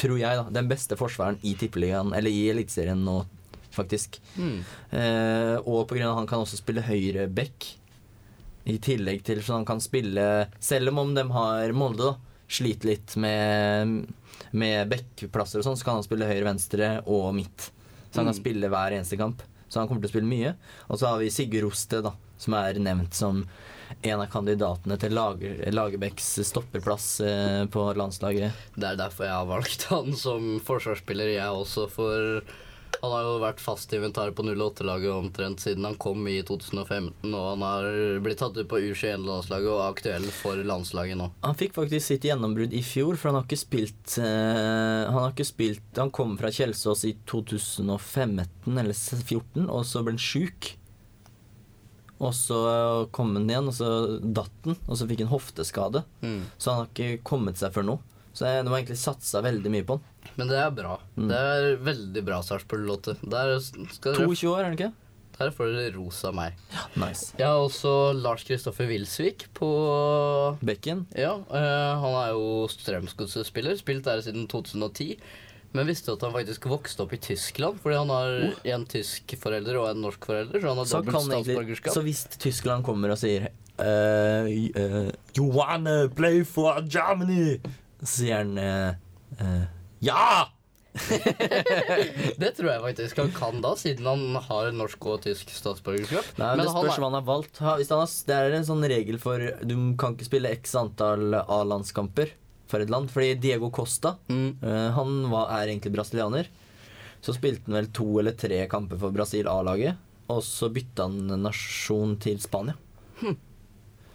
Speaker 1: tror jeg, da. Den beste forsvareren i Tippeligaen, eller i Eliteserien nå, faktisk. Eh, og på grunn av at han kan også spille høyre back. I tillegg til så han kan spille Selv om de har Molde, da, sliter litt med, med backplasser og sånn, så kan han spille høyre, venstre og midt. Så han kan spille hver eneste kamp. Så han kommer til å spille mye. Og så har vi Sigurd Rosted, da, som er nevnt som en av kandidatene til Lager, Lagerbäcks stopperplass eh, på landslaget.
Speaker 2: Det er derfor jeg har valgt han som forsvarsspiller, jeg også, for han har jo vært fast inventar på 08-laget omtrent siden han kom i 2015, og han har blitt tatt ut på U21-landslaget og er aktuell for landslaget nå.
Speaker 1: Han fikk faktisk sitt gjennombrudd i fjor, for han har ikke spilt eh, Han har ikke spilt Han kom fra Kjelsås i 2015 eller 2014, og så ble han sjuk. Og så eh, kom han igjen, og så datt han, og så fikk han hofteskade. Så han har ikke kommet seg før nå. Så jeg, de har egentlig satsa veldig mye på han.
Speaker 2: Men det er bra. Det er veldig bra Sarpsborg-låte. Der, skal dere-
Speaker 1: 22 år, er han ikke?
Speaker 2: der får dere ros av meg.
Speaker 1: Nice.
Speaker 2: Jeg har også Lars Kristoffer Wilsvik på
Speaker 1: Bekken.
Speaker 2: Ja, øh, han er jo Strømsgodset-spiller, spilt der siden 2010. Men visste du at han faktisk vokste opp i Tyskland? Fordi han har en tysk forelder og en norsk forelder, så han har
Speaker 1: Oh. Så,
Speaker 2: dobbelt
Speaker 1: kan egentlig,
Speaker 2: statsborgerskap.
Speaker 1: så hvis Tyskland kommer og sier eh, eh, You wanna play for Germany? Så sier han eh, eh, Ja!
Speaker 2: Det tror jeg faktisk han kan da, siden han har norsk og tysk statsborgerskap.
Speaker 1: Nei, men det spørs hva han har valgt. Ha- Hvis han har, s- det er en sånn regel for Du kan ikke spille x antall A-landskamper for et land. Fordi Diego Costa
Speaker 2: Mm.
Speaker 1: eh, Han var, er egentlig brasilianer. Så spilte han vel to eller tre kamper for Brasil A-laget. Og så bytta han nasjon til Spania.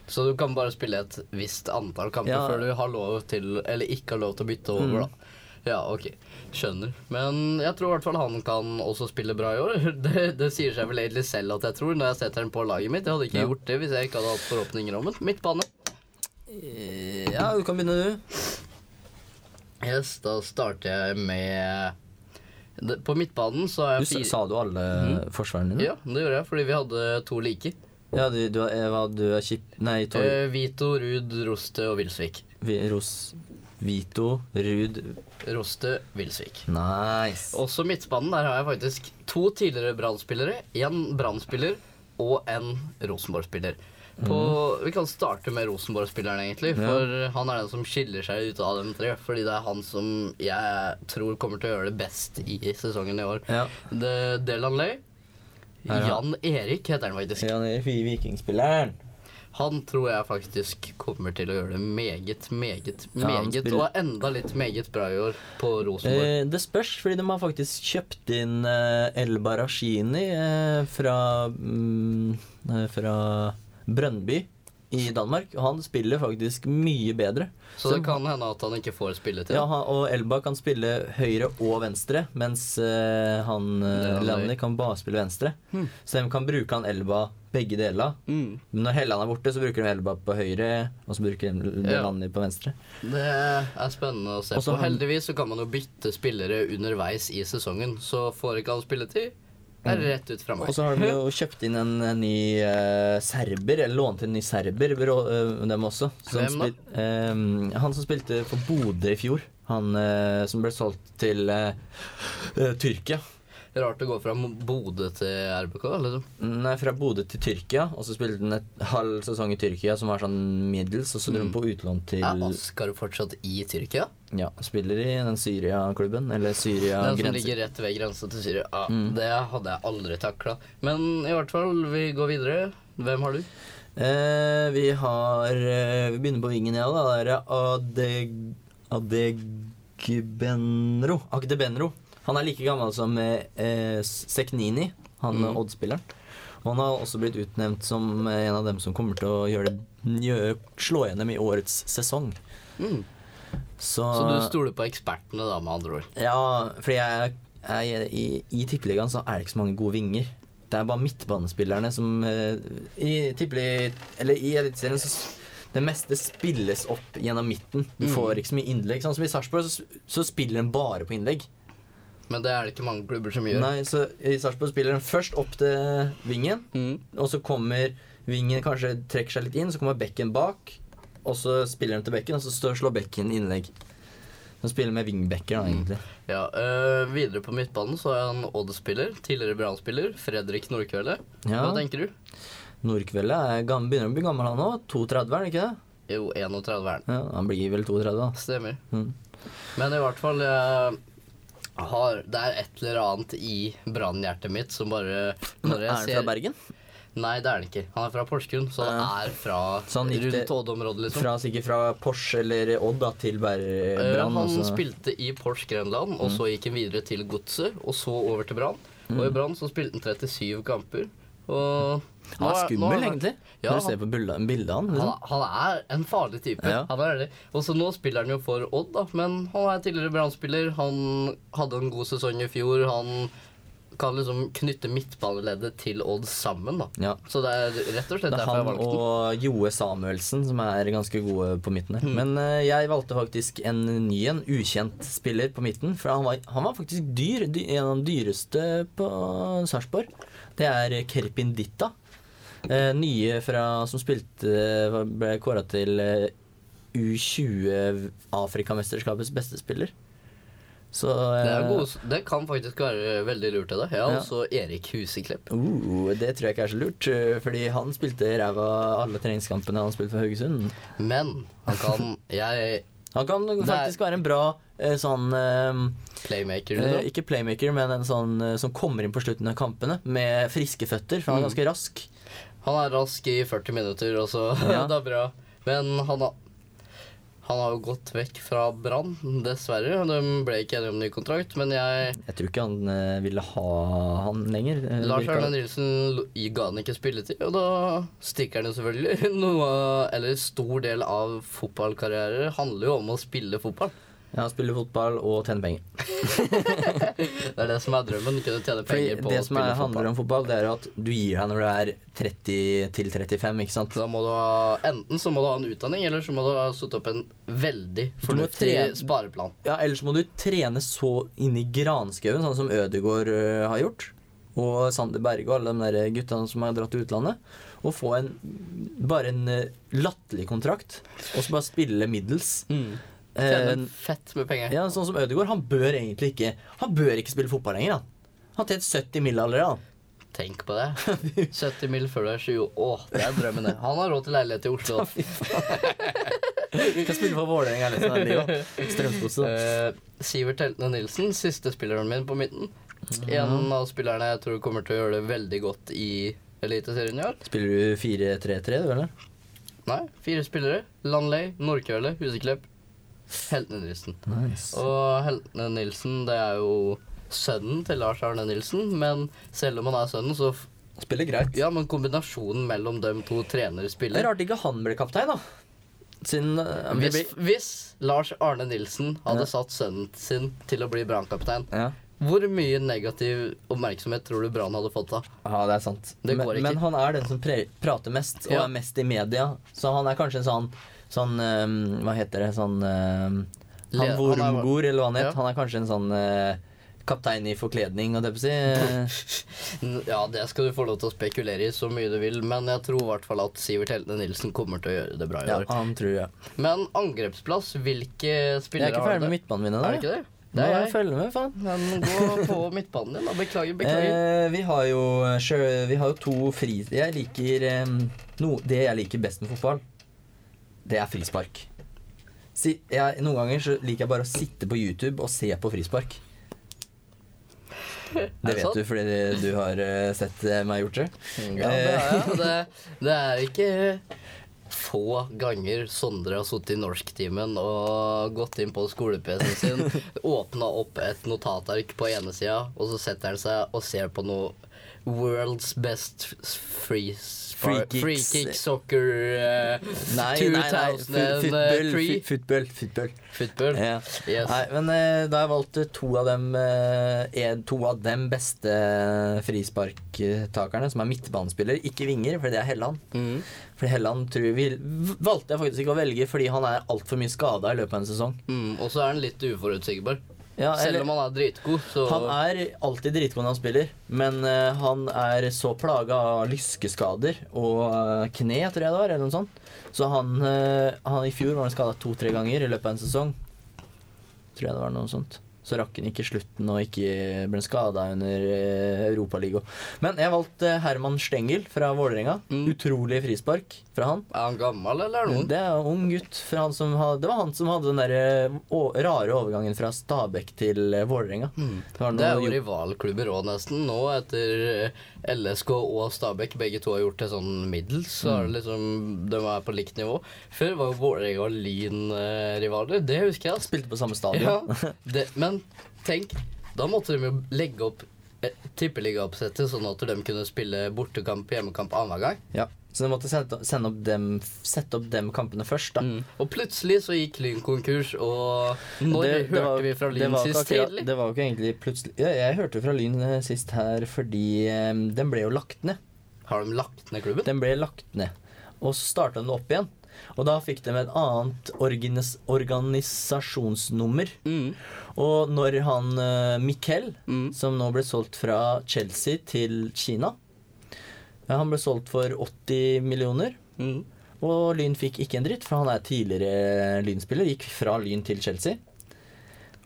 Speaker 2: Så du kan bare spille et visst antall kamper
Speaker 1: Ja. Mm.
Speaker 2: før du har lov til, eller ikke har lov til å bytte over, da. Ja, ok. Skjønner. Men jeg tror i hvert fall han kan også spille bra i år. Det, det sier seg vel egentlig selv at jeg tror, når jeg setter den på laget mitt. Jeg hadde ikke
Speaker 1: Ja.
Speaker 2: gjort det hvis jeg ikke hadde hatt forhåpninger om en midtbane.
Speaker 1: Eh, Ja, du kan begynne, du.
Speaker 2: Yes, da starter jeg med det- På midtbanen så er
Speaker 1: du
Speaker 2: jeg
Speaker 1: sa, sa du alle forsvarene dine?
Speaker 2: Mhm. Ja, det gjorde jeg, fordi vi hadde to like.
Speaker 1: Ja, du, du, har- eh, hva, du er Kip... Nei, Tor...
Speaker 2: Eh, Vito, Ruud, Roste og Wilsvik.
Speaker 1: Vi- Ros... Vito, Ruud
Speaker 2: Roste, Wilsvik.
Speaker 1: Nice.
Speaker 2: Også midtbanen, der har jeg faktisk to tidligere Brann-spillere. Én Brann-spiller og en Rosenborg-spiller. På,
Speaker 1: Mhm.
Speaker 2: Vi kan starte med Rosenborg-spilleren, egentlig. For han er den som skiller seg ut av dem tre. Fordi det er han som jeg tror kommer til å gjøre det best i sesongen i år.
Speaker 1: Ja.
Speaker 2: Det- Delan Ley.
Speaker 1: er
Speaker 2: Jan Erik heter han faktisk.
Speaker 1: Jan Erik Vi- Vikingspilleren.
Speaker 2: Han tror jeg faktisk kommer til å gjøre det meget, meget,
Speaker 1: Ja, han
Speaker 2: meget
Speaker 1: spiller-
Speaker 2: og enda litt meget bra i år på Rosenborg.
Speaker 1: Eh, det spørs, fordi de har faktisk kjøpt inn eh, El Barashini eh, fra, mm, eh, fra Brønnby i Danmark. Og han spiller faktisk mye bedre.
Speaker 2: Så det kan hende at han ikke får spilletid.
Speaker 1: Ja, han, og Elba kan spille høyre og venstre, mens eh, han
Speaker 2: Leander.
Speaker 1: uh, Landy kan bare spille venstre.
Speaker 2: Hmm.
Speaker 1: Så de kan bruke han Elba begge deler.
Speaker 2: Mm.
Speaker 1: Men når Helland er borte, så bruker de Elba på høyre, og så bruker de
Speaker 2: Ja.
Speaker 1: Landy på venstre.
Speaker 2: Det er spennende å se
Speaker 1: Og så
Speaker 2: på.
Speaker 1: han-
Speaker 2: Heldigvis så kan man jo bytte spillere underveis i sesongen, så får ikke han spilletid. Det er rett ut fra meg.
Speaker 1: Mm. Og så har de jo kjøpt inn en, en ny eh, serber, eller lånt inn en ny serber, bro, eh, dem også. Som
Speaker 2: Hvem da?
Speaker 1: eh, han som spilte for Bodø i fjor. Han eh, som ble solgt til eh, eh, Tyrkia.
Speaker 2: Rart å gå fra Bodø til RBK, liksom.
Speaker 1: Nei, fra Bodø til Tyrkia, og så spilte han et halv sesong i Tyrkia, som var sånn middels, og så
Speaker 2: Mm.
Speaker 1: dro han på utlån til
Speaker 2: Er Askar fortsatt i Tyrkia?
Speaker 1: Ja, spiller i den Syria-klubben, eller
Speaker 2: Den som
Speaker 1: Syria-grensen.
Speaker 2: ligger rett ved grensa til Syria. Ja,
Speaker 1: Mm.
Speaker 2: Det hadde jeg aldri takla. Men i hvert fall, vi går videre. Hvem har du?
Speaker 1: Eh, vi har eh, Vi begynner på vingen, ja. da Det er Adeg... Adegbenro. Agdebenro. Han er like gammel som eh, eh, Seknini, han
Speaker 2: Mm.
Speaker 1: eh, Odd-spilleren. Og han har også blitt utnevnt som eh, en av dem som kommer til å gjøre det, gjøre, slå gjennom i årets sesong.
Speaker 2: Mm.
Speaker 1: Så,
Speaker 2: Så du stoler på ekspertene, da, med andre ord.
Speaker 1: Ja, fordi jeg, jeg, i, i Tippeligaen så er det ikke så mange gode vinger. Det er bare midtbanespillerne som eh, I tippelig... Eller i Eliteserien så s- det meste spilles opp gjennom midten. Du får ikke så mye innlegg. Sånn som i Sarpsborg, så, s- så spiller de bare på innlegg.
Speaker 2: Men det er det ikke mange klubber som gjør.
Speaker 1: Nei, så i Sarpsborg spiller de først opp til vingen,
Speaker 2: Mm.
Speaker 1: og så kommer vingen kanskje trekker seg litt inn, så kommer bekken bak, og så spiller de til bekken, og så står- slår bekken innlegg. De spiller med vingbekker, da, egentlig.
Speaker 2: Ja, øh, videre på midtbanen så er han Odd-spiller, tidligere Brann-spiller, Fredrik Nordkvelde.
Speaker 1: Ja.
Speaker 2: Hva tenker du?
Speaker 1: Nordkveldet er gam- begynner å bli gammel, han òg. 32, er han ikke det?
Speaker 2: Jo, 31-eren.
Speaker 1: Ja, han blir vel 32, da.
Speaker 2: Stemmer.
Speaker 1: Mm.
Speaker 2: Men i hvert fall jeg har, Det er et eller annet i Brann-hjertet mitt som bare når
Speaker 1: Er
Speaker 2: jeg
Speaker 1: han
Speaker 2: ser-
Speaker 1: fra Bergen?
Speaker 2: Nei, det er han ikke. Han er fra Porsgrunn, så han
Speaker 1: Ja.
Speaker 2: er fra
Speaker 1: Så han gikk til-
Speaker 2: rundt Odd-området, liksom.
Speaker 1: Fra, sikkert fra Porsche eller Odd da, til Ber
Speaker 2: Eh,
Speaker 1: Brann.
Speaker 2: han
Speaker 1: altså. Mm.
Speaker 2: spilte i Porsche Grenland, og så gikk han videre til Godset, og så over til Brann. Og i Brann så spilte han 37 kamper. Og
Speaker 1: Han er
Speaker 2: nå nå
Speaker 1: skummel, egentlig.
Speaker 2: Ja,
Speaker 1: Når du ser
Speaker 2: han,
Speaker 1: på bildet, bildet av han.
Speaker 2: han,
Speaker 1: Liksom.
Speaker 2: han er en farlig type.
Speaker 1: Ja.
Speaker 2: Han er det. Og så nå spiller han jo for Odd, da. Men han er tidligere Brann-spiller. Han hadde en god sesong i fjor. Han kan liksom knytte midtbaneleddet til Odd sammen, da.
Speaker 1: Ja.
Speaker 2: Så det er rett og slett
Speaker 1: Det er
Speaker 2: derfor jeg
Speaker 1: han
Speaker 2: valgte den.
Speaker 1: og Joe Samuelsen som er ganske gode på midten
Speaker 2: Mm.
Speaker 1: her. Men eh, jeg valgte faktisk en ny en, ukjent spiller på midten. For han var, han var faktisk dyr. dy- En av de dyreste på Sarpsborg. Det er Kerpin Ditta. Eh, nye fra, som spilte Ble kåra til eh, U20 Afrikamesterskapets beste spiller. Så eh,
Speaker 2: Det, er gode, det kan faktisk være veldig lurt. Det. da. Jeg har
Speaker 1: Ja.
Speaker 2: også Erik Huseklepp.
Speaker 1: Uh, det tror jeg ikke er så lurt, eh, fordi han spilte ræva alle treningskampene han spilte for Haugesund.
Speaker 2: Men han kan Jeg
Speaker 1: Han kan faktisk være en bra eh, sånn eh,
Speaker 2: playmaker
Speaker 1: eh,
Speaker 2: liksom.
Speaker 1: Ikke playmaker, men en sånn eh, som kommer inn på slutten av kampene med friske føtter, for han er
Speaker 2: Mm.
Speaker 1: ganske rask.
Speaker 2: Han er rask i 40 minutter, og så
Speaker 1: Ja.
Speaker 2: Det er bra. Men han har Han har jo gått vekk fra Brann, dessverre. De ble ikke enige om ny kontrakt, men jeg
Speaker 1: Jeg tror ikke han eh, ville ha han lenger. eh,
Speaker 2: Lars
Speaker 1: virker det.
Speaker 2: Arne Nilsen lo- i- ga han ikke spilletid, og da stikker han jo selvfølgelig. Noe, av- eller stor del av fotballkarrierer handler jo om å spille fotball.
Speaker 1: Ja, spille fotball og tjene penger.
Speaker 2: Det er det som er drømmen, kunne
Speaker 1: Fordi
Speaker 2: tjene penger på
Speaker 1: det
Speaker 2: å
Speaker 1: som er,
Speaker 2: spille fotball.
Speaker 1: handler om fotball, det er jo at du gir deg når du er 30 til 35, ikke sant?
Speaker 2: Da må du ha, enten så må du ha en utdanning, eller så må du ha satt opp en veldig
Speaker 1: Du må
Speaker 2: fornuftig
Speaker 1: tre-
Speaker 2: spareplan.
Speaker 1: Ja, ellers må du trene så inn i granskauen, sånn som Ødegaard øh, har gjort. Og Sander Berge og alle de der gutta som har dratt til utlandet. Og få en, bare en øh, latterlig kontrakt, og så bare spille middels. Eh,
Speaker 2: Mm. Tjene fett med penger.
Speaker 1: ja, sånn som Ødegaard, han bør egentlig ikke Han bør ikke spille fotball lenger. Han Han har tjent 70 mill. allerede.
Speaker 2: Tenk på det. 70 mil før du er 20. Å, det er drømmen, det. Han har råd til leilighet i Oslo.
Speaker 1: Han kan spille for Vålerenga sånn, resten av livet. da. Strømsgodset.
Speaker 2: Eh, Sivert Heltene Nilsen, siste spilleren min på midten. En av spillerne jeg tror kommer til å gjøre det veldig godt i Eliteserien i år.
Speaker 1: Spiller du 4-3-3, du, eller?
Speaker 2: Nei, fire spillere. Landley, Nordkjøle, Huseklepp, Heltene Nilsen.
Speaker 1: Nice.
Speaker 2: Og Heltene Nilsen, det er jo sønnen til Lars Arne Nilsen, men selv om han er sønnen, så f-
Speaker 1: Spiller greit.
Speaker 2: Ja, men kombinasjonen mellom dem to trenere
Speaker 1: Det er
Speaker 2: spiller
Speaker 1: rart ikke han ble kaptein, da. Siden øh, vi
Speaker 2: hvis,
Speaker 1: blir-
Speaker 2: hvis Lars Arne Nilsen
Speaker 1: Ja.
Speaker 2: hadde satt sønnen sin til å bli Brann-kaptein,
Speaker 1: ja.
Speaker 2: hvor mye negativ oppmerksomhet tror du Brann hadde fått da?
Speaker 1: ja, det er sant.
Speaker 2: Det går
Speaker 1: men,
Speaker 2: ikke.
Speaker 1: men han er den som pre prater mest, og
Speaker 2: Ja.
Speaker 1: er mest i media. Så han er kanskje en sånn, sånn øhm, Hva heter det? Sånn øhm,
Speaker 2: Le-
Speaker 1: Han Vormgor, eller hva han
Speaker 2: Ja.
Speaker 1: het. Han er kanskje en sånn øh, kaptein i forkledning, og det på å si.
Speaker 2: N- Ja, det skal du få lov til å spekulere i så mye du vil, men jeg tror i hvert fall at Sivert Heltene Nilsen kommer til å gjøre det bra i
Speaker 1: Ja,
Speaker 2: år.
Speaker 1: han tror jeg.
Speaker 2: Men angrepsplass, hvilke
Speaker 1: Jeg er
Speaker 2: spillere
Speaker 1: ikke
Speaker 2: har
Speaker 1: ferdig med
Speaker 2: du der?
Speaker 1: midtbanen min
Speaker 2: Er du ikke
Speaker 1: ennå.
Speaker 2: det?
Speaker 1: Nå
Speaker 2: Det
Speaker 1: må
Speaker 2: er
Speaker 1: jeg
Speaker 2: jeg.
Speaker 1: følge med, faen.
Speaker 2: Men gå på midtbanen din, da. Beklager, beklager.
Speaker 1: Eh, vi har jo sjø, Vi har jo to fri... Jeg liker em, no, Det jeg liker best med fotball, det er frispark. Si, jeg, noen ganger så liker jeg bare å sitte på YouTube og se på frispark. Det
Speaker 2: det
Speaker 1: vet
Speaker 2: sant?
Speaker 1: du fordi du har eh, sett eh, meg gjort det. Eh,
Speaker 2: Ja, det Altså, er Eh, det. Det er ikke få ganger Sondre har sittet i norsktimen og gått inn på skole-PC-en sin, åpna opp et notatark på ene sida, og så setter han seg og ser på noe World's best f- free,
Speaker 1: Free
Speaker 2: spar-
Speaker 1: kicks.
Speaker 2: free kick soccer eh,
Speaker 1: Nei, nei, nei. fu- Football.
Speaker 2: 2003
Speaker 1: fu- Football. football.
Speaker 2: Football.
Speaker 1: Ja.
Speaker 2: Yes.
Speaker 1: Nei, men eh, da har jeg valgt to av dem eh, en- To av dem beste eh, frisparktakerne, som er midtbanespillere. Ikke vinger, for det er Helland.
Speaker 2: Mm.
Speaker 1: Fordi Helland tror vi valgte jeg faktisk ikke å velge fordi han er altfor mye skada i løpet av en sesong.
Speaker 2: Mm. Og så er han litt uforutsigbar.
Speaker 1: Ja,
Speaker 2: Selv
Speaker 1: eller,
Speaker 2: om han er dritgod, så
Speaker 1: han er alltid dritgod når han spiller, men eh, han er så plaga av lyskeskader og eh, kne, tror jeg det var, eller noe sånt. Så han, eh, han i fjor var han skada to-tre ganger i løpet av en sesong. Tror jeg det var noe sånt. Så rakk han ikke slutten og ikke ble skada under eh, Europaligaen. Men jeg valgte eh, Herman Stengel fra Vålerenga.
Speaker 2: Mm.
Speaker 1: Utrolig frispark fra han.
Speaker 2: Er han gammel, eller er han ung?
Speaker 1: Det er en ung gutt. For han som hadde, det var han som hadde den der eh, å- rare overgangen fra Stabæk til eh, Vålerenga. Det var
Speaker 2: Det er
Speaker 1: noe
Speaker 2: jo
Speaker 1: jo-
Speaker 2: rivalklubber òg, nesten. Nå etter eh, LSK og Stabæk, begge to har gjort det sånn middels, så er det
Speaker 1: Mm.
Speaker 2: liksom, de er på likt nivå. Før var jo Vålerenga og Lyn eh, rivaler, det husker jeg. ass.
Speaker 1: Spilte på samme
Speaker 2: Ja,
Speaker 1: stadion.
Speaker 2: det, men tenk, da måtte de jo legge opp eh, tippeligaoppsettet sånn at de kunne spille bortekamp, hjemmekamp annenhver gang.
Speaker 1: Ja. Så de måtte sette, sende opp dem, sette opp dem kampene først, da.
Speaker 2: Og plutselig så gikk Lyn konkurs, og når
Speaker 1: Det- det
Speaker 2: hørte
Speaker 1: var-
Speaker 2: vi fra
Speaker 1: det
Speaker 2: Lyn
Speaker 1: var ikke
Speaker 2: sist
Speaker 1: akkurat-
Speaker 2: tidlig?
Speaker 1: Det var jo ikke egentlig plutselig ja, Jeg hørte fra Lyn eh, sist her fordi eh, den ble jo lagt ned.
Speaker 2: Har de lagt ned klubben?
Speaker 1: Den ble lagt ned. Og så starta den opp igjen. Og da fikk de et annet organis organisasjonsnummer.
Speaker 2: Mm.
Speaker 1: Og når han eh, Miquel,
Speaker 2: Mm.
Speaker 1: som nå ble solgt fra Chelsea til Kina ja, Han ble solgt for 80 millioner,
Speaker 2: Mm.
Speaker 1: og Lyn fikk ikke en dritt, for han er tidligere Lyn-spiller. Gikk fra Lyn til Chelsea.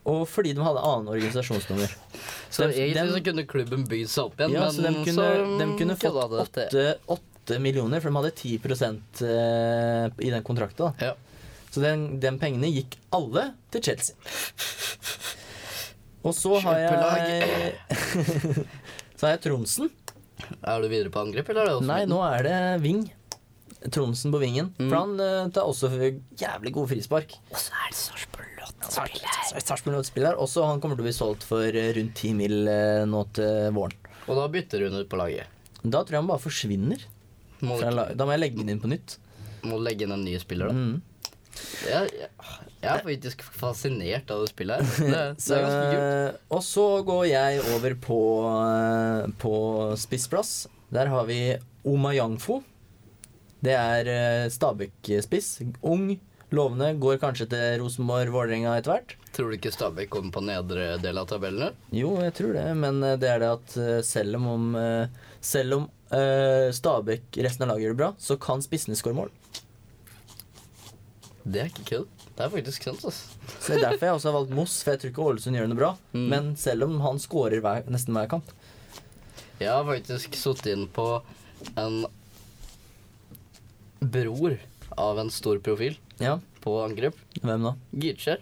Speaker 1: Og fordi de hadde annen organisasjonsnummer.
Speaker 2: Så
Speaker 1: Dem- dem-
Speaker 2: egentlig så kunne klubben bygd seg opp igjen,
Speaker 1: ja,
Speaker 2: men
Speaker 1: så de kunne, de kunne fått
Speaker 2: kødda det til.
Speaker 1: 8, 8 millioner, for de hadde 10 eh, i den kontrakten. Da.
Speaker 2: Ja.
Speaker 1: Så den, den pengene gikk alle til Chelsea. Og så har jeg Så har jeg Tronsen.
Speaker 2: Er du videre på angrep, eller er det også
Speaker 1: Nei, nå er det Ving. Tromsen på vingen. For han eh, tar også jævlig gode frispark.
Speaker 2: Og så er det Sarpsborg
Speaker 1: altså. Sarpsborg Lodd-spiller. Også han kommer til å bli solgt for eh, rundt 10 mil eh, nå til våren.
Speaker 2: Og da bytter hun ut på laget.
Speaker 1: Da tror jeg han bare forsvinner.
Speaker 2: Må,
Speaker 1: fra la- Da må jeg legge den inn på nytt.
Speaker 2: må legge inn en ny spiller, da.
Speaker 1: Mm.
Speaker 2: Jeg, jeg, jeg er faktisk fascinert av det spillet her. Det, det
Speaker 1: Så,
Speaker 2: er ganske kult.
Speaker 1: Eh, og så går jeg over på, eh, på spissplass. Der har vi Oma Yangfo. Det er eh, Stabæk-spiss. Ung, lovende. Går kanskje til Rosenborg-Vålerenga etter hvert.
Speaker 2: Tror du ikke Stabæk kommer på nedre del av tabellen? nå?
Speaker 1: Jo, jeg tror det, men eh, det er det at eh, selv om, eh, selv om eh, Stabæk resten av laget gjør det bra, så kan spissene skåre mål.
Speaker 2: Det er ikke kødd. Det er faktisk sant, ass.
Speaker 1: Så det er derfor jeg også har valgt Moss, for jeg tror ikke Ålesund gjør det bra.
Speaker 2: Mm.
Speaker 1: Men selv om han skårer hver, nesten hver kamp.
Speaker 2: Jeg har faktisk sittet inn på en bror av en stor profil
Speaker 1: Ja,
Speaker 2: på angrep.
Speaker 1: hvem da?
Speaker 2: Gitskjær.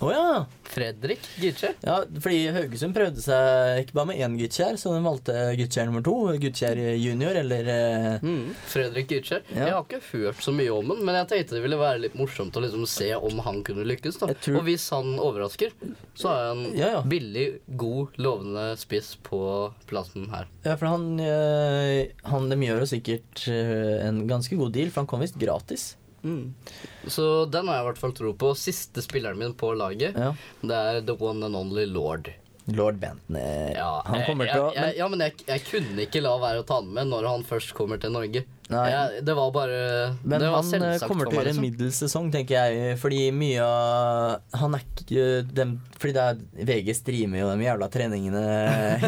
Speaker 1: Å ja!
Speaker 2: Fredrik Gitskjær.
Speaker 1: Ja, fordi Haugesund prøvde seg ikke bare med én guttkjær, så de valgte guttkjær nummer to. Guttkjær junior, eller eh,
Speaker 2: Fredrik Gitskjær.
Speaker 1: Ja.
Speaker 2: Jeg har ikke hørt så mye om han, men jeg tenkte det ville være litt morsomt å liksom se om han kunne lykkes. da.
Speaker 1: Jeg tror-
Speaker 2: Og hvis han overrasker, så er han
Speaker 1: Ja, ja.
Speaker 2: billig, god, lovende spiss på plassen her.
Speaker 1: Ja, for han, eh, han De gjør jo sikkert eh, en ganske god deal, for han kom visst gratis. Mm.
Speaker 2: Så den har jeg i hvert fall tro på. Siste spilleren min på laget,
Speaker 1: Ja.
Speaker 2: det er the one and only lord.
Speaker 1: Lord Bentner.
Speaker 2: Ja,
Speaker 1: han kommer
Speaker 2: jeg,
Speaker 1: til å
Speaker 2: jeg, jeg,
Speaker 1: men,
Speaker 2: ja, men jeg, jeg kunne ikke la være å ta den med når han først kommer til Norge.
Speaker 1: Nei.
Speaker 2: Jeg, det var bare
Speaker 1: men
Speaker 2: det var
Speaker 1: han eh,
Speaker 2: selvsagt
Speaker 1: kommer
Speaker 2: for
Speaker 1: til å
Speaker 2: meg,
Speaker 1: gjøre en
Speaker 2: liksom.
Speaker 1: middels sesong, tenker jeg. Fordi mye av Han er ikke eh, dem, Fordi det er VG streamer jo de jævla treningene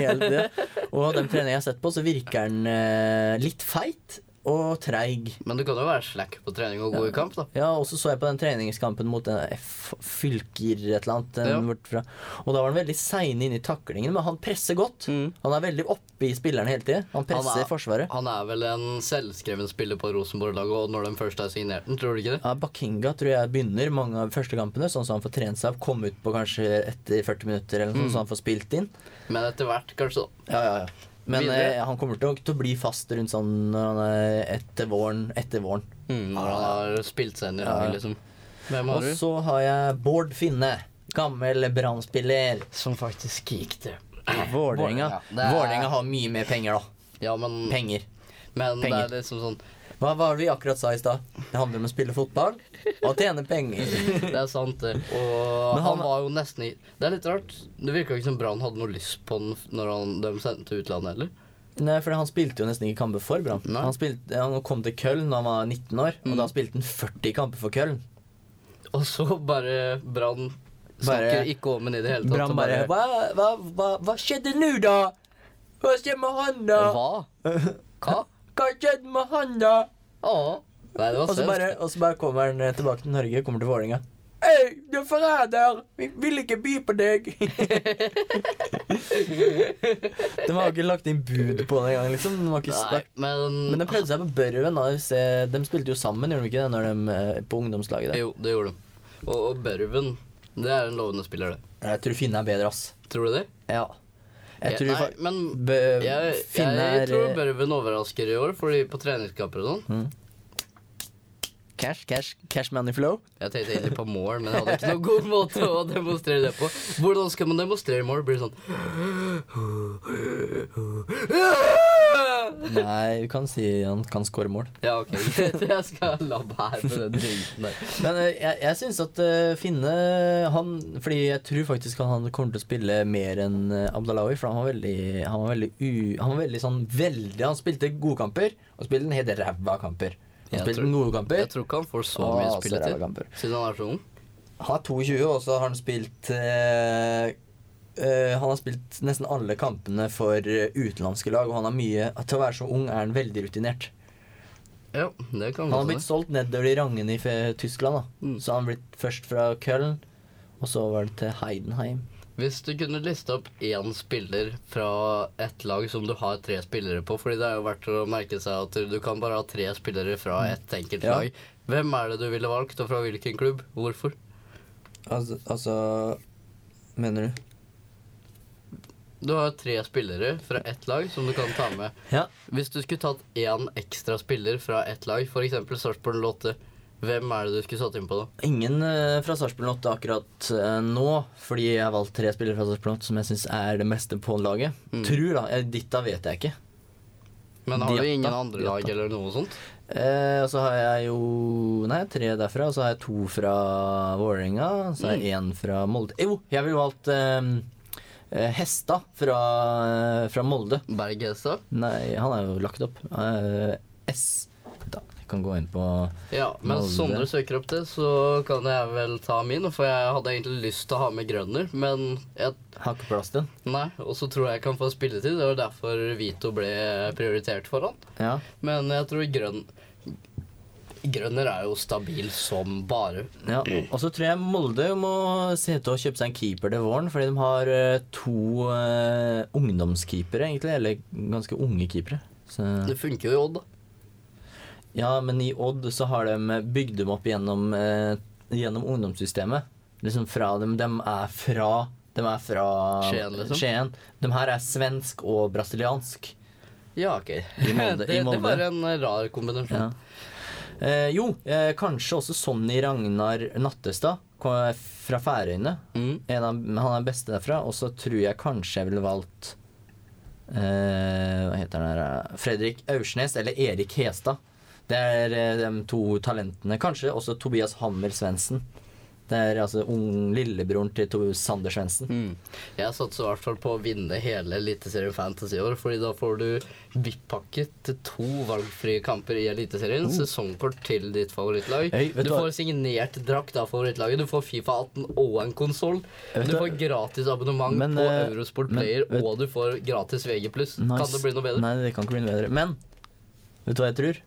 Speaker 1: hele tiden. Og de treningene jeg har sett på, så virker han eh, litt feit og treig.
Speaker 2: Men du kan jo være slack på trening og god i kamp, da.
Speaker 1: Ja, og så så jeg på den treningskampen mot den F Fylker et eller annet. Den
Speaker 2: Ja.
Speaker 1: bortfra. Og da var han veldig sein inn i taklingen, men han presser godt.
Speaker 2: Mm.
Speaker 1: Han er veldig oppe i spilleren hele tiden. Han presser
Speaker 2: er-
Speaker 1: forsvaret.
Speaker 2: Han er vel en selvskreven spiller på Rosenborg-laget, og når de først har signert den, tror du ikke det?
Speaker 1: Ja, Bakinga tror jeg begynner mange av de første kampene, sånn som han får trent seg opp. Komme ut på kanskje etter 40 minutter, eller noe sånt, så han får spilt inn.
Speaker 2: Men etter hvert, kanskje, da.
Speaker 1: Ja, ja, ja. Men
Speaker 2: Videre.
Speaker 1: eh, han kommer til å, til å bli fast rundt sånn når han er etter våren. Etter våren.
Speaker 2: Når han har spilt seg inn i laget, liksom. Hvem
Speaker 1: Mm. Og
Speaker 2: har du?
Speaker 1: så har jeg Bård Finne. Gammel Brann-spiller.
Speaker 2: Som faktisk gikk til
Speaker 1: Vålerenga.
Speaker 2: Vålerenga. Det er-
Speaker 1: Vålerenga har mye mer penger, da.
Speaker 2: Ja, men,
Speaker 1: Penger.
Speaker 2: men det
Speaker 1: penger.
Speaker 2: er liksom sånn
Speaker 1: Hva var det vi akkurat sa i stad? Det handler om å spille fotball og tjene penger.
Speaker 2: Det er sant, det. Og han,
Speaker 1: han-
Speaker 2: var jo nesten i Det er litt rart. Det virka ikke som Brann hadde noe lyst på den f- når han, de sendte til utlandet heller.
Speaker 1: Nei, for han spilte jo nesten ikke kamper for Brann.
Speaker 2: Nei. Mm.
Speaker 1: Han, spilte- han kom til Köln da han var 19 år, og da spilte han 40 kamper for Köln.
Speaker 2: Og så bare Brann
Speaker 1: Bare-
Speaker 2: snakker ikke om ham i det hele tatt.
Speaker 1: Brann
Speaker 2: og
Speaker 1: bare hva, hva, hva, hva skjedde nå, da? Hva skjedde med han, da?
Speaker 2: Hva? Hva?
Speaker 1: Hva skjedde med han, da?
Speaker 2: Å. Nei, det var
Speaker 1: Og så
Speaker 2: søtt.
Speaker 1: bare, og så bare kommer han eh, tilbake til Norge, kommer til Vålerenga. Hei, du er forræder! Vi vil ikke by på deg! De har jo ikke lagt inn bud på det engang, liksom. De har ikke
Speaker 2: Nei,
Speaker 1: sagt
Speaker 2: men,
Speaker 1: Men de prøvde seg på Børven. da. Se, De spilte jo sammen, gjorde de ikke det? Når de, eh, på ungdomslaget. Der.
Speaker 2: Jo, det gjorde de. Og, og Børven, det er en lovende spiller, det.
Speaker 1: Jeg tror Finne er bedre, ass.
Speaker 2: Tror du det?
Speaker 1: Ja. Jeg tror
Speaker 2: Nei,
Speaker 1: fak-
Speaker 2: men
Speaker 1: Bø,
Speaker 2: jeg,
Speaker 1: Finne
Speaker 2: jeg
Speaker 1: er
Speaker 2: tror
Speaker 1: eh,
Speaker 2: Børven overrasker i år, fordi på treningskamper og sånn.
Speaker 1: Mm. Cash, cash, cash money flow.
Speaker 2: Jeg tenkte egentlig på mål, men jeg hadde ikke noen god måte å demonstrere det på. Hvordan skal man demonstrere mål? Blir det sånn
Speaker 1: Nei, du kan si han kan score mål.
Speaker 2: Ja, ok, greit. Jeg skal la være med den driten der.
Speaker 1: Men eh, jeg, jeg syns at eh, Finne han, Fordi jeg tror faktisk at han kommer til å spille mer enn eh, Abdalawi. For han var veldig Han var veldig, u, han var veldig sånn veldig Han spilte gode kamper, og spilte en helt ræva kamper. Han
Speaker 2: Jeg
Speaker 1: spilte
Speaker 2: tror-
Speaker 1: noen gode kamper.
Speaker 2: Jeg tror ikke han får så
Speaker 1: Å,
Speaker 2: mye
Speaker 1: så ræva
Speaker 2: spilletid
Speaker 1: kamper.
Speaker 2: siden han er så ung.
Speaker 1: Han er 22, og så har han spilt eh, eh, Han har spilt nesten alle kampene for eh, utenlandske lag, og han har mye Til å være så ung er han veldig rutinert.
Speaker 2: Ja, det kan
Speaker 1: Han har
Speaker 2: godt
Speaker 1: blitt
Speaker 2: hende.
Speaker 1: solgt nedover i rangene i F- Tyskland, da.
Speaker 2: Mm.
Speaker 1: Så han har blitt først fra Köln, og så var det til Heidenheim.
Speaker 2: Hvis du kunne liste opp én spiller fra ett lag som du har tre spillere på Fordi det er jo verdt å merke seg at du kan bare ha tre spillere fra ett enkelt
Speaker 1: Mm. Ja.
Speaker 2: lag. Hvem er det du ville valgt, og fra hvilken klubb? Hvorfor?
Speaker 1: Altså, altså Mener du?
Speaker 2: Du har tre spillere fra ett lag som du kan ta med.
Speaker 1: Ja.
Speaker 2: Hvis du skulle tatt én ekstra spiller fra ett lag, f.eks. Sarpsborg 08, hvem er det du skulle satt inn på da?
Speaker 1: Ingen eh, fra Sarpsborg 8 akkurat eh, nå, fordi jeg har valgt tre spillere fra Sarpsborg 8 som jeg syns er det meste på laget.
Speaker 2: Mm.
Speaker 1: Tror da. Jeg, Ditta vet jeg ikke.
Speaker 2: Men har du
Speaker 1: Diatta.
Speaker 2: ingen andre lag
Speaker 1: Diatta.
Speaker 2: eller noe sånt?
Speaker 1: Eh, og så har jeg jo Nei, tre derfra. Og så har jeg to fra Vålerenga. og Så har
Speaker 2: Mm.
Speaker 1: jeg én fra Molde. Jo, jeg ville valgt eh, eh, Hesta fra, eh, fra Molde.
Speaker 2: Berg Hestad?
Speaker 1: Nei, han er jo lagt opp. Eh, S. Da, jeg kan gå inn på
Speaker 2: Ja,
Speaker 1: Molde.
Speaker 2: mens Sondre søker opp det, så kan jeg vel ta min. For jeg hadde egentlig lyst til å ha med Grønner, men jeg,
Speaker 1: hakkeplasten.
Speaker 2: nei. Og så tror jeg jeg kan få spilletid. Det var derfor Vito ble prioritert foran.
Speaker 1: Ja.
Speaker 2: Men jeg tror grønn Grønner er jo stabil som bare.
Speaker 1: Ja, og så tror jeg Molde må se til å kjøpe seg en keeper til våren, fordi de har eh, to eh, ungdomskeepere, egentlig. Eller ganske unge keepere. Så,
Speaker 2: Det funker jo i Odd, da.
Speaker 1: ja, men i Odd så har de bygd dem opp gjennom, eh, gjennom ungdomssystemet. Liksom fra dem De er fra De er fra
Speaker 2: Skien, liksom?
Speaker 1: Skien. De her er svensk og brasiliansk.
Speaker 2: Ja, ok.
Speaker 1: I Molde- i
Speaker 2: det,
Speaker 1: Molde.
Speaker 2: det var en rar kombinasjon.
Speaker 1: Ja. Eh, jo, eh, kanskje også Sonny Ragnar Nattestad kom- fra Færøyene.
Speaker 2: Mm.
Speaker 1: En av, men han er beste derfra, og så tror jeg kanskje jeg ville valgt eh, Hva heter han der eh, Fredrik Aursnes eller Erik Hestad. Det er eh, de to talentene. Kanskje også Tobias Hammer Svendsen. Det er altså ung, lillebroren til to Sander Svendsen.
Speaker 2: Mm. Jeg satser i hvert fall på å vinne hele Eliteserien Fantasy i år, fordi da får du VIP-pakke til to valgfrie kamper i Eliteserien. Sesongkort til ditt favorittlag.
Speaker 1: Oh. Hey, vet
Speaker 2: du
Speaker 1: du hva-
Speaker 2: får signert drakt av favorittlaget. Du får Fifa 18 og en konsoll.
Speaker 1: Vet
Speaker 2: Du
Speaker 1: du-
Speaker 2: får gratis abonnement
Speaker 1: Men,
Speaker 2: på
Speaker 1: eh,
Speaker 2: Eurosport
Speaker 1: men,
Speaker 2: Player,
Speaker 1: vet-
Speaker 2: og du får gratis VG+. Kan det bli noe bedre?
Speaker 1: Nei, det kan ikke bli noe bedre. Men vet du hva jeg tror?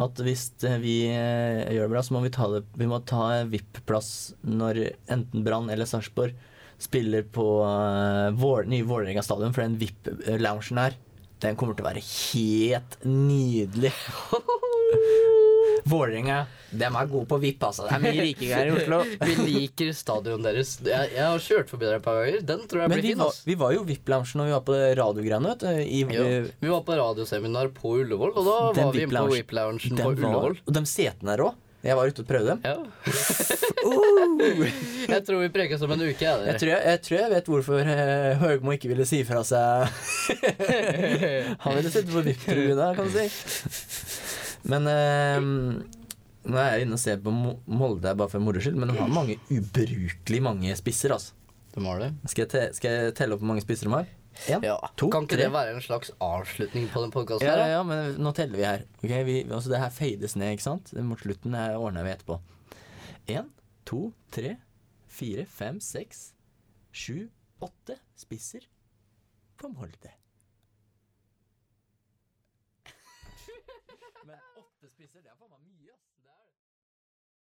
Speaker 1: At hvis eh, vi eh, gjør det bra, så må vi ta, det, vi må ta eh, VIP-plass når enten Brann eller Sarpsborg spiller på eh, vår, nye Vålerenga stadion, for den VIP-loungen her, den kommer til å være helt nydelig. Vålerenga, dem er gode på VIP, altså. Det er mye rikinger i Oslo.
Speaker 2: Vi liker stadionet deres. Jeg, jeg har kjørt forbi der et par ganger. Den tror jeg
Speaker 1: Men
Speaker 2: blir
Speaker 1: vi
Speaker 2: fin.
Speaker 1: var,
Speaker 2: ass.
Speaker 1: vi var jo VIP-loungen når vi var på det radiogreiene, vet du. I,
Speaker 2: Jo, vi var på radioseminar på Ullevål, og da
Speaker 1: Den
Speaker 2: var vi inne på
Speaker 1: VIP-loungen-
Speaker 2: VIP-loungen
Speaker 1: Den
Speaker 2: på
Speaker 1: var-
Speaker 2: Ullevål.
Speaker 1: Og de setene der òg. Jeg var ute og prøvde dem.
Speaker 2: Ja. jeg tror vi prekes om en uke. jeg,
Speaker 1: Jeg
Speaker 2: dere.
Speaker 1: tror jeg, jeg, tror jeg vet hvorfor eh, Høgmo ikke ville si fra seg Han ville sitte på VIP-tribunen, kan du si. Men eh, Nå er jeg inne og ser på Mo- Molde her bare for moro skyld, men de har mange ubrukelig mange spisser. altså
Speaker 2: Hvem var det?
Speaker 1: Skal jeg, te skal jeg telle opp hvor mange spisser de har? Én,
Speaker 2: Ja.
Speaker 1: to,
Speaker 2: kan ikke
Speaker 1: tre.
Speaker 2: det være en slags avslutning på den podkasten?
Speaker 1: Ja, ja, ja, men nå teller vi her. Ok, vi, altså Det her fades ned, ikke sant? Mot slutten det her ordner vi etterpå. Én, to, tre, fire, fem, seks, sju, åtte spisser på Molde. Men åtte spisser, det er faen meg mye, ass.